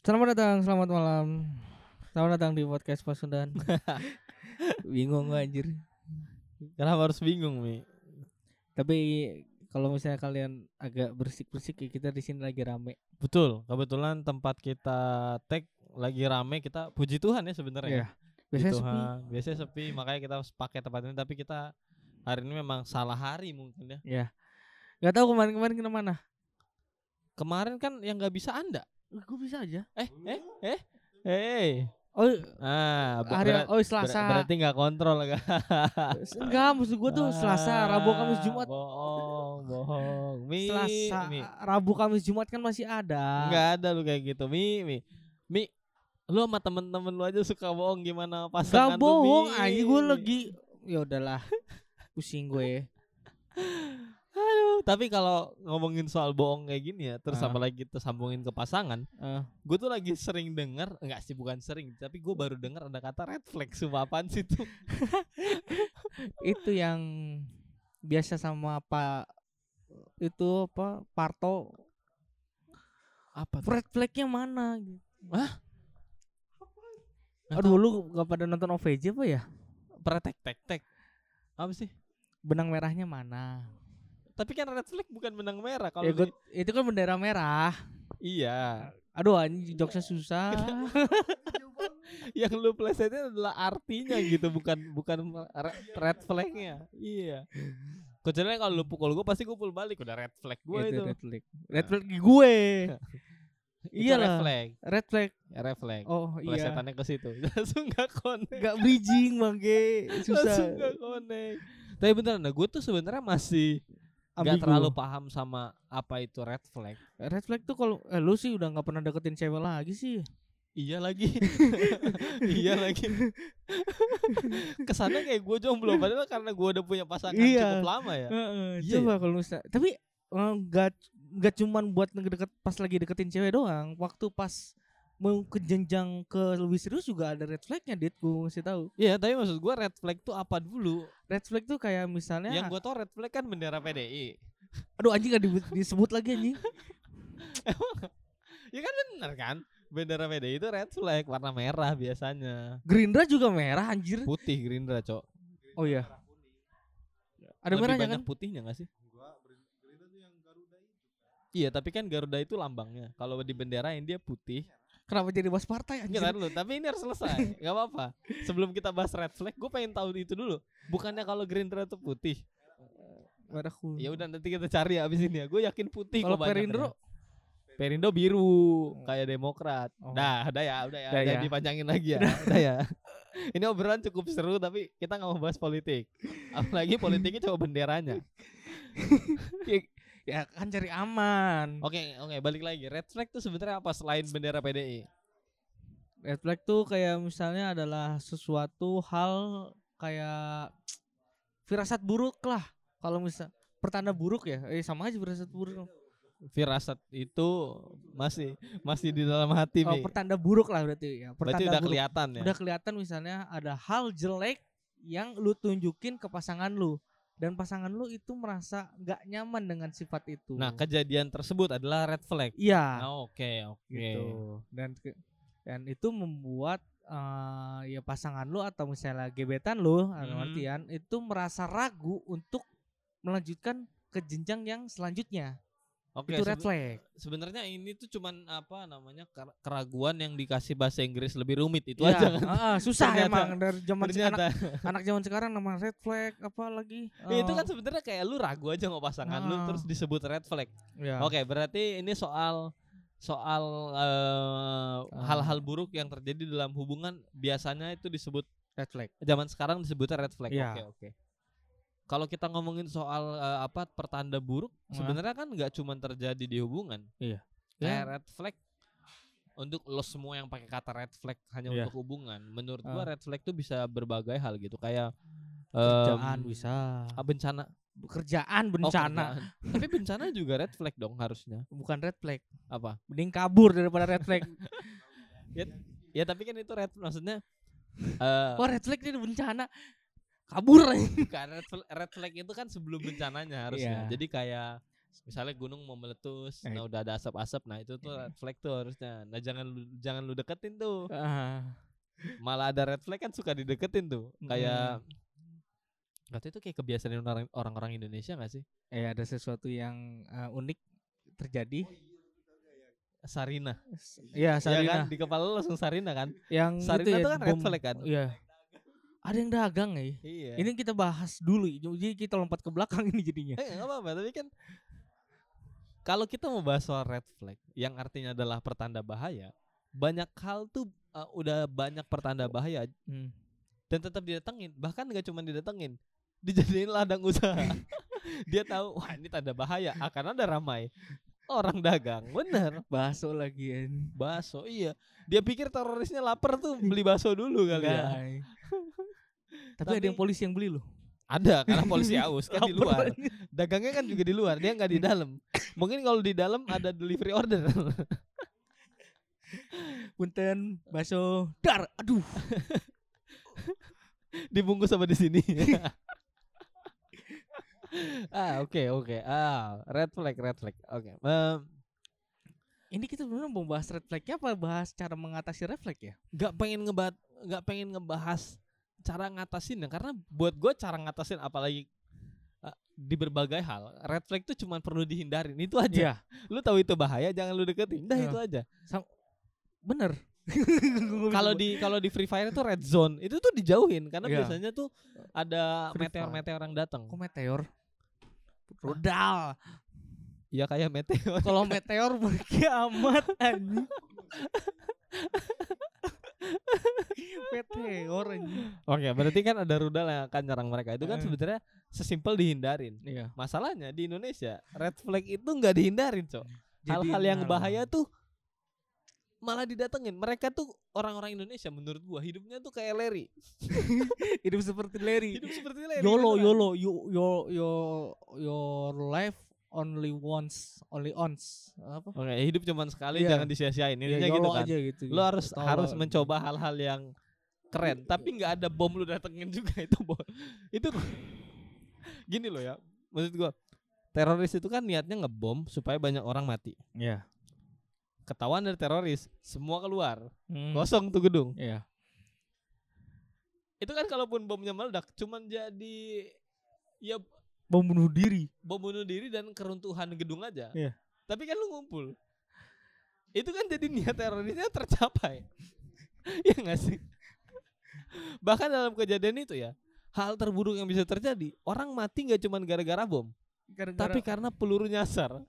Selamat datang, selamat malam. Selamat datang di podcast Pasundan. Bingung gua anjir. Kenapa harus bingung Mi? Tapi kalau misalnya kalian agak bersik-bersik ya kita di sini lagi rame. Betul, kebetulan tempat kita tag lagi rame kita puji Tuhan ya sebenarnya. Iya. Biasanya Puji sepi. Tuhan. Biasanya sepi, makanya kita harus pakai tempat ini tapi kita hari ini memang salah hari mungkin ya. Gak tahu kemarin-kemarin ke mana. Kemarin kan yang nggak bisa Anda. Gue bisa aja. Eh, eh, eh. Hey. Oh, Ah, ber- hari berat- oh ber- Selasa. berarti nggak kontrol kan? Ah, Enggak, maksud gua tuh Selasa, Rabu, Kamis, Jumat. Bohong, bohong. Mi, Selasa, Mi. Rabu, Kamis, Jumat kan masih ada. Enggak ada lu kayak gitu. Mi, Mi. Mi, lu sama temen-temen lu aja suka bohong gimana Gak pasangan lu, bohong Mi? anjing gue lagi ya udahlah. Pusing ya. gue. Aduh, tapi kalau ngomongin soal bohong kayak gini ya, terus Ah. sama lagi kita sambungin ke pasangan, Eh, gue tuh lagi sering denger, enggak sih bukan sering, tapi gue baru denger ada kata red flag Sumpah apaan sih tuh? itu yang biasa sama Pak itu apa Parto Apa tuh? red flagnya mana gitu. Hah? Aduh lu gak pada nonton OVJ apa ya? Pretek tek tek. Apa sih? Benang merahnya mana? Tapi kan red flag bukan benang merah kalau Ya, di- gua- itu kan bendera merah. Iya. Aduh anjing jokesnya susah. yang lu plesetin adalah artinya gitu bukan bukan re- red flagnya iya kecuali kalau lu pukul gue pasti gue pukul balik udah red flag gue itu, Gitu, red flag. Red flag gue. Itu Iyalah. red flag Red flag. red flag Oh iya. plesetannya ke situ langsung gak connect Gak bridging bangke langsung susah. gak connect tapi beneran nah gue tuh sebenarnya masih nggak Ambigu. terlalu paham sama apa itu red flag Red flag tuh kalau eh, lu sih udah nggak pernah deketin cewek lagi sih. iya lagi iya lagi kesannya kayak gue jomblo padahal karena gue udah punya pasangan Iya. cukup lama ya Heeh, Iya coba kalau misalnya tapi enggak enggak cuman buat ngedeket pas lagi deketin cewek doang waktu pas mau ke jenjang ke lebih serius juga ada red flagnya dit gue ngasih tahu Iya, tapi maksud gua red flag tuh apa dulu? red flag tuh kayak misalnya Yang gua tau red flag kan bendera PDI. aduh anjing gak disebut, disebut lagi anjing Ya kan bener kan? Bendera PDI itu red flag warna merah biasanya. Gerindra juga merah anjir Putih Gerindra, Cok. oh iya ada Lebih merahnya kan banyak putihnya gak sih? Iya, tapi kan Garuda itu lambangnya. Kalau di bendera India putih. kenapa jadi bahas partai anjir Enggak tahan dulu, tapi ini harus selesai. Gak apa-apa. Sebelum kita bahas red flag, gue pengen tahu itu dulu. Bukannya kalau Gerindra itu putih. merah kuning. Ya udah nanti kita cari ya abis ini ya. Gue yakin putih kalau kok banyak Perindro ternyata. Perindo biru kayak Demokrat. Oh. Dah, udah ya, udah ya, Udah udah ya. dipanjangin lagi ya. Udah ya. Ini obrolan cukup seru tapi kita nggak mau bahas politik. Apalagi politiknya cuma benderanya. ya, ya kan cari aman Oke, oke, balik lagi. Red flag itu sebenarnya apa selain bendera PDI? red flag tuh kayak misalnya adalah sesuatu hal kayak firasat buruk lah kalau misal pertanda buruk ya eh sama aja firasat buruk Firasat itu masih masih di dalam hati, oh, Mi. pertanda buruk lah berarti ya Berarti pertanda udah buruk kelihatan ya. udah kelihatan misalnya ada hal jelek yang lu tunjukin ke pasangan lu dan pasangan lu itu merasa nggak nyaman dengan sifat itu Nah, kejadian tersebut adalah red flag. iya Nah, Oke, oke. gitu dan ke- dan itu membuat eh, ya pasangan lu atau misalnya gebetan lu eh, dalam Mhm. artian itu merasa ragu untuk melanjutkan ke jenjang yang selanjutnya Oke, itu red sebe- flag sebenarnya ini tuh cuman apa namanya ker- keraguan yang dikasih bahasa Inggris lebih rumit itu Iya, aja. kan. heeh, susah Ternyata- emang dari zaman se- anak Ternyata anak zaman sekarang nama red flag apa lagi Ya, itu eh, kan sebenarnya kayak lu ragu aja sama pasangan lu Nah. terus disebut red flag. ya. Oke, berarti ini soal soal eh, Ah. hal-hal buruk yang terjadi dalam hubungan biasanya itu disebut red flag zaman sekarang disebutnya red flag. Oke, Iya. oke. Kalau kita ngomongin soal eh, apa pertanda buruk, Nah. sebenarnya kan nggak cuma terjadi di hubungan. Iya. Kayak Ya. red flag untuk lo semua yang pakai kata red flag hanya Iya. untuk hubungan. Menurut gua Ah. red flag tuh bisa berbagai hal gitu, kayak kerjaan em, bisa ah, bencana kerjaan Oh, bencana kerjaan. Tapi bencana juga red flag dong harusnya. bukan red flag Apa? mending kabur daripada red flag Ya tapi kan itu red maksudnya eh oh red flag itu bencana kabur bukan red, fl- red flag itu kan sebelum bencananya harusnya. Iya. Jadi kayak misalnya gunung mau meletus Eh. nah udah ada asap-asap nah itu tuh red flag tuh harusnya nah jangan lu, jangan lu deketin tuh Ah, malah ada red flag kan suka dideketin tuh kayak nggak tahu itu kayak kebiasaan orang orang-orang Indonesia gak sih eh ada sesuatu yang eh, unik terjadi. Sarina Iya, Sarina Sarina Oh, kan di kepala lu langsung Sarina kan yang Sarina itu ya, tuh kan red bom. flag kan? Iya. Ada yang dagang ya. iya Ini kita bahas dulu. Jadi kita lompat ke belakang ini jadinya. Eh nggak apa-apa tapi kan kalau kita mau bahas soal red flag yang artinya adalah pertanda bahaya banyak hal tuh uh, udah banyak pertanda bahaya Hmm. dan tetap didatengin bahkan nggak cuma didatengin dijadiin ladang usaha dia tahu wah ini tanda bahaya akan ada ramai orang dagang bener Bakso lagi ya. bakso iya dia pikir terorisnya lapar tuh beli bakso dulu kali Guy. ya Tapi, ada Tapi- yang polisi yang beli loh. ada karena polisi aus kan di Lapar luar ini. dagangnya kan juga di luar dia nggak di dalam mungkin kalau di dalam ada delivery order Punten bakso dar. Aduh. dibungkus sama di sini. ah oke oke ah red flag red flag oke Em, Ini kita sebenarnya mau bahas red flagnya apa bahas cara mengatasi red flag ya? nggak pengen ngebat nggak pengen ngebahas cara ngatasin ya karena buat gue cara ngatasin apalagi eh, di berbagai hal red flag tuh cuma perlu dihindarin itu aja Iya. lu tahu itu bahaya jangan lu deketin dah Iya. itu aja Bener. kalau di kalau di free fire tuh red zone itu tuh dijauhin karena Iya. biasanya tuh ada Free Fire. meteor meteor yang datang Kok meteor? Rodal. ya kayak meteor Kalau meteor berkiamat anjing. meteor anjing. Oke, berarti kan ada rudal yang akan nyerang mereka. Itu kan Heeh. sebenarnya sesimpel dihindarin. Iya. Masalahnya di Indonesia red flag itu nggak dihindarin, Cok. Hal-hal nah. yang bahaya tuh malah didatengin. Mereka tuh orang-orang Indonesia menurut gua hidupnya tuh kayak Larry. hidup seperti Larry. gitu kan. Hidup seperti Larry. YOLO beneran. YOLO you, your your your life only once only once apa? Oke, hidup cuman sekali Iya. jangan disia-siain. Ya, Intinya gitu YOLO kan. aja gitu. Lo harus Tolol. harus mencoba hal-hal yang keren, tapi nggak ada bom lu datengin juga itu bom. Itu gini loh ya. Maksud gua teroris itu kan niatnya ngebom supaya banyak orang mati. Iya. ketahuan dari teroris, semua keluar, Hmm. kosong tuh gedung. Iya. Itu kan kalaupun bomnya meledak, cuman jadi ya Bom bunuh diri. bom bunuh diri dan keruntuhan gedung aja. Iya. Tapi kan lu ngumpul. Itu kan jadi niat terorisnya tercapai. ya nggak sih? Bahkan dalam kejadian itu ya, hal terburuk yang bisa terjadi, orang mati nggak cuman gara-gara bom, tapi Tapi kan karena peluru nyasar.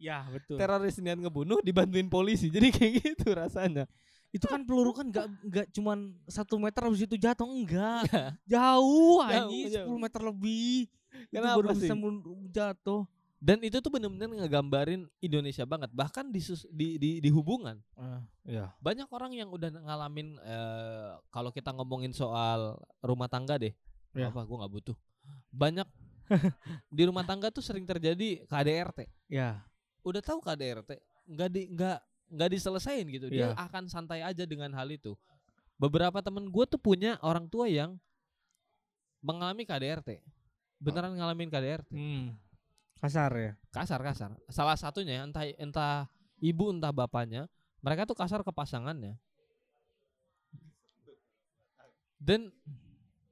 ya betul. Teroris niat ngebunuh dibantuin polisi. Jadi kayak gitu rasanya. itu kan peluru kan nggak nggak cuman satu meter habis itu jatuh enggak jauh anjing Iya. jauh. 10 meter lebih Kenapa itu baru bisa sih? mun- jatuh dan itu tuh bener-bener ngegambarin Indonesia banget bahkan di sus- di, di di hubungan ya banyak orang yang udah ngalamin eh, kalau kita ngomongin soal rumah tangga deh Ya. apa gua nggak butuh banyak di rumah tangga tuh sering terjadi KDRT ya udah tahu KDRT nggak di nggak nggak diselesain gitu dia akan santai aja dengan hal itu beberapa temen gue tuh punya orang tua yang mengalami KDRT beneran ngalamin KDRT hmm. kasar ya kasar kasar salah satunya entah entah ibu entah bapaknya mereka tuh kasar ke pasangannya dan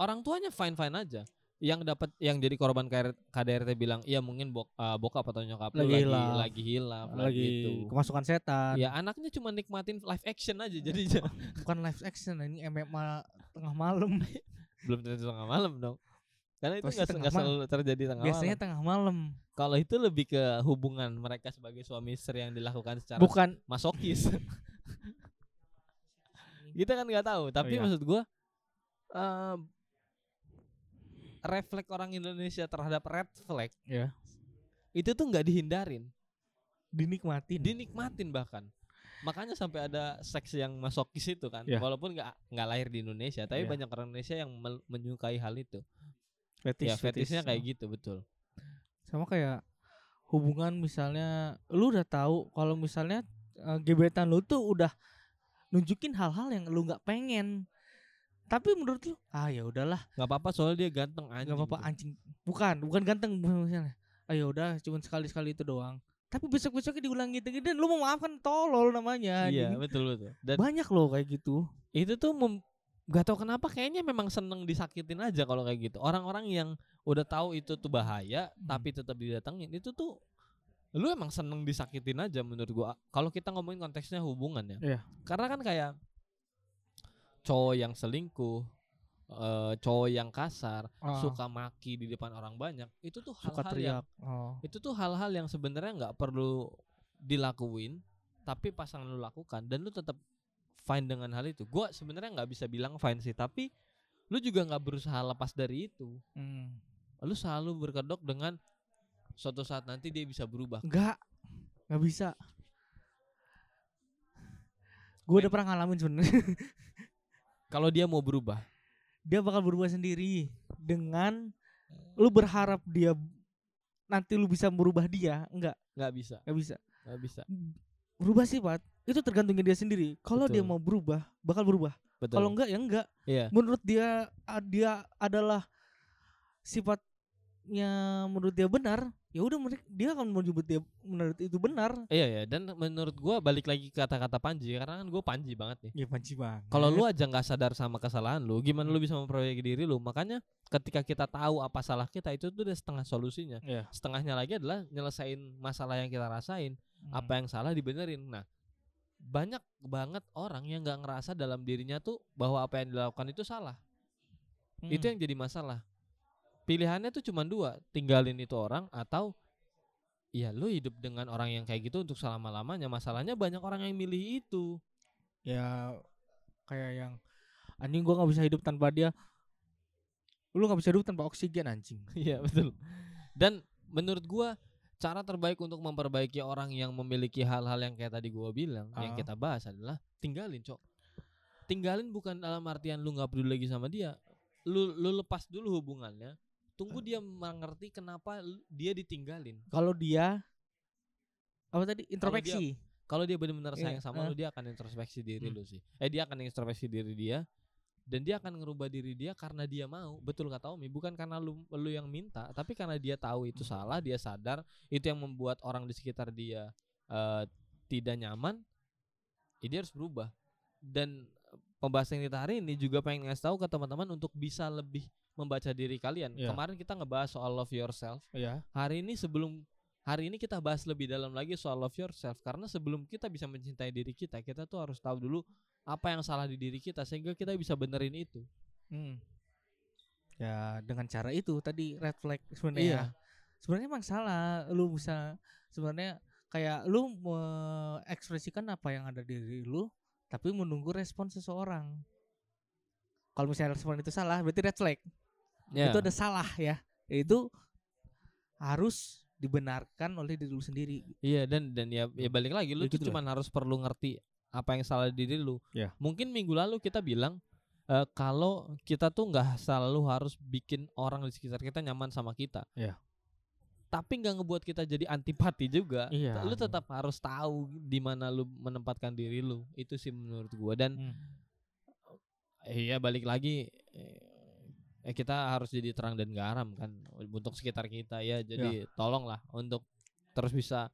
orang tuanya fine fine aja yang dapat yang jadi korban KR KDRT bilang iya mungkin bok, eh, bokap atau nyokap lu Lagi lagi hilaf. lagi hilaf lagi gitu. kemasukan setan ya anaknya cuma nikmatin live action aja jadinya bukan live action ini MMA tengah malam belum tentu tengah malam dong karena itu Pasti nggak se- tengah nggak malam. selalu terjadi tengah biasanya malam tengah malam kalau itu lebih ke hubungan mereka sebagai suami istri yang dilakukan secara bukan masokis Iya. kita kan nggak tahu tapi iya. maksud gua eh refleks orang Indonesia terhadap red flag Iya. itu tuh nggak dihindarin dinikmatin dinikmatin bahkan makanya sampai ada seks yang masokis itu kan Iya. walaupun nggak nggak lahir di Indonesia tapi Iya. banyak orang Indonesia yang mel- menyukai hal itu fetish, ya fetisnya kayak gitu betul sama kayak hubungan misalnya lu udah tahu kalau misalnya eh, gebetan lu tuh udah nunjukin hal-hal yang lu nggak pengen tapi menurut lu ah ya udahlah nggak apa-apa soalnya dia ganteng anjing nggak apa-apa tuh. anjing bukan bukan ganteng misalnya ayo udah cuman sekali-sekali itu doang tapi besok-besoknya diulang gitu dan lu mau maafkan tolol namanya iya anjing. betul betul dan banyak loh kayak gitu itu tuh mem- gak tau kenapa kayaknya memang seneng disakitin aja kalau kayak gitu orang-orang yang udah tahu itu tuh bahaya Hmm. tapi tetap didatengin itu tuh lu emang seneng disakitin aja menurut gua kalau kita ngomongin konteksnya hubungan ya Iya. karena kan kayak cowok yang selingkuh eh, cowok yang kasar Ah, suka maki di depan orang banyak itu tuh suka teriak hal-hal yang oh. itu tuh hal-hal yang sebenarnya nggak perlu dilakuin tapi pasangan lu lakukan dan lu tetap fine dengan hal itu gua sebenarnya nggak bisa bilang fine sih tapi lu juga nggak berusaha lepas dari itu Hmm. lu selalu berkedok dengan suatu saat nanti dia bisa berubah Enggak. Enggak bisa. Gue udah pernah ngalamin sebenarnya. kalau dia mau berubah Dia bakal berubah sendiri dengan lu berharap dia nanti lu bisa merubah dia. Enggak, nggak bisa enggak bisa. nggak bisa Berubah sifat itu tergantungnya dia sendiri. Kalau dia Betul. mau berubah, bakal berubah. betul Kalau enggak ya enggak. iya Menurut dia ah, dia adalah sifatnya menurut dia benar, ya udah mereka- dia akan menyebut dia menurut itu benar. iya iya dan menurut gua balik lagi ke kata-kata Panji karena kan gua Panji banget nih Ya panci banget. kalau lu aja nggak sadar sama kesalahan lu gimana lu bisa memperbaiki diri lu makanya ketika kita tahu apa salah kita itu tuh udah setengah solusinya Iya. setengahnya lagi adalah nyelesain masalah yang kita rasain Hmm. apa yang salah dibenerin nah banyak banget orang yang nggak ngerasa dalam dirinya tuh bahwa apa yang dilakukan itu salah Hmm. itu yang jadi masalah pilihannya tuh cuma dua tinggalin itu orang atau ya lu hidup dengan orang yang kayak gitu untuk selama lamanya masalahnya banyak orang yang milih itu ya kayak yang anjing gua nggak bisa hidup tanpa dia lu nggak bisa hidup tanpa oksigen anjing Iya betul. Dan menurut gua cara terbaik untuk memperbaiki orang yang memiliki hal-hal yang kayak tadi gua bilang yang Ah. kita bahas adalah tinggalin cok. Tinggalin bukan dalam artian lu nggak peduli lagi sama dia. Lu lu lepas dulu hubungannya. Tunggu dia mengerti kenapa lu- dia ditinggalin. kalau dia apa tadi introspeksi Kalau dia benar-benar Iya, sayang sama ah. lu dia akan introspeksi diri Hmm. lu sih. Eh dia akan introspeksi diri dia dan dia akan ngerubah diri dia karena dia mau betul kata Omi bukan karena lu lu yang minta tapi karena dia tahu Hmm. itu salah dia sadar itu yang membuat orang di sekitar dia eh, tidak nyaman ya dia harus berubah dan pembahasan kita hari ini juga pengen ngasih tahu ke teman-teman untuk bisa lebih membaca diri kalian Iya. kemarin kita ngebahas soal love yourself ya hari ini sebelum hari ini kita bahas lebih dalam lagi soal love yourself karena sebelum kita bisa mencintai diri kita kita tuh harus tahu dulu apa yang salah di diri kita sehingga kita bisa benerin itu Hmm. ya dengan cara itu tadi red flag sebenarnya Iya. sebenarnya emang salah lu bisa sebenarnya kayak lu mengekspresikan apa yang ada di diri lu tapi menunggu respon seseorang kalau misalnya respon itu salah berarti red flag itu ada salah ya itu harus dibenarkan oleh diri lu sendiri iya dan dan ya, ya balik lagi lu Ya tuh gitu cuma harus perlu ngerti apa yang salah di diri lu Iya. mungkin minggu lalu kita bilang eh, kalau kita tuh nggak selalu harus bikin orang di sekitar kita nyaman sama kita Iya. tapi nggak ngebuat kita jadi antipati juga Iya. lu tetap harus tahu di mana lu menempatkan diri lu itu sih menurut gua dan Hmm. Iya balik lagi eh, eh, kita harus jadi terang dan garam kan untuk sekitar kita Iya. ya jadi tolonglah untuk terus bisa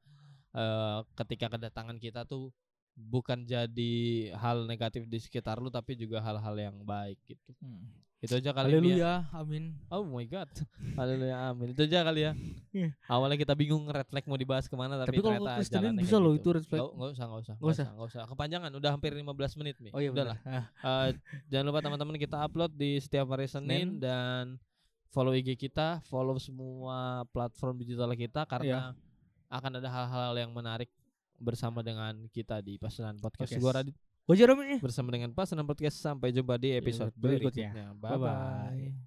eh, ketika kedatangan kita tuh bukan jadi hal negatif di sekitar lu tapi juga hal-hal yang baik gitu itu aja kali ya Hmm. Haleluya, amin. oh my god haleluya amin itu aja kali ya Iya. awalnya kita bingung red flag mau dibahas kemana Tapi tapi, kalau ternyata Kristenin jalannya bisa kayak loh gitu. itu red flag. Nggak- nggak usah nggak usah Nggak nggak usah nggak usah kepanjangan udah hampir 15 menit nih Oh iya udahlah benar. Ah, Eh, jangan lupa teman-teman kita upload di setiap hari Senin Senin. dan follow IG kita, follow semua platform digital kita karena Iya. akan ada hal-hal yang menarik bersama dengan kita di Pasangan Podcast. Podcast. Gua Radit Gua Jerome ya. bersama dengan Pasangan Podcast. Sampai jumpa di episode berikutnya. berikutnya. Bye bye. Bye-bye.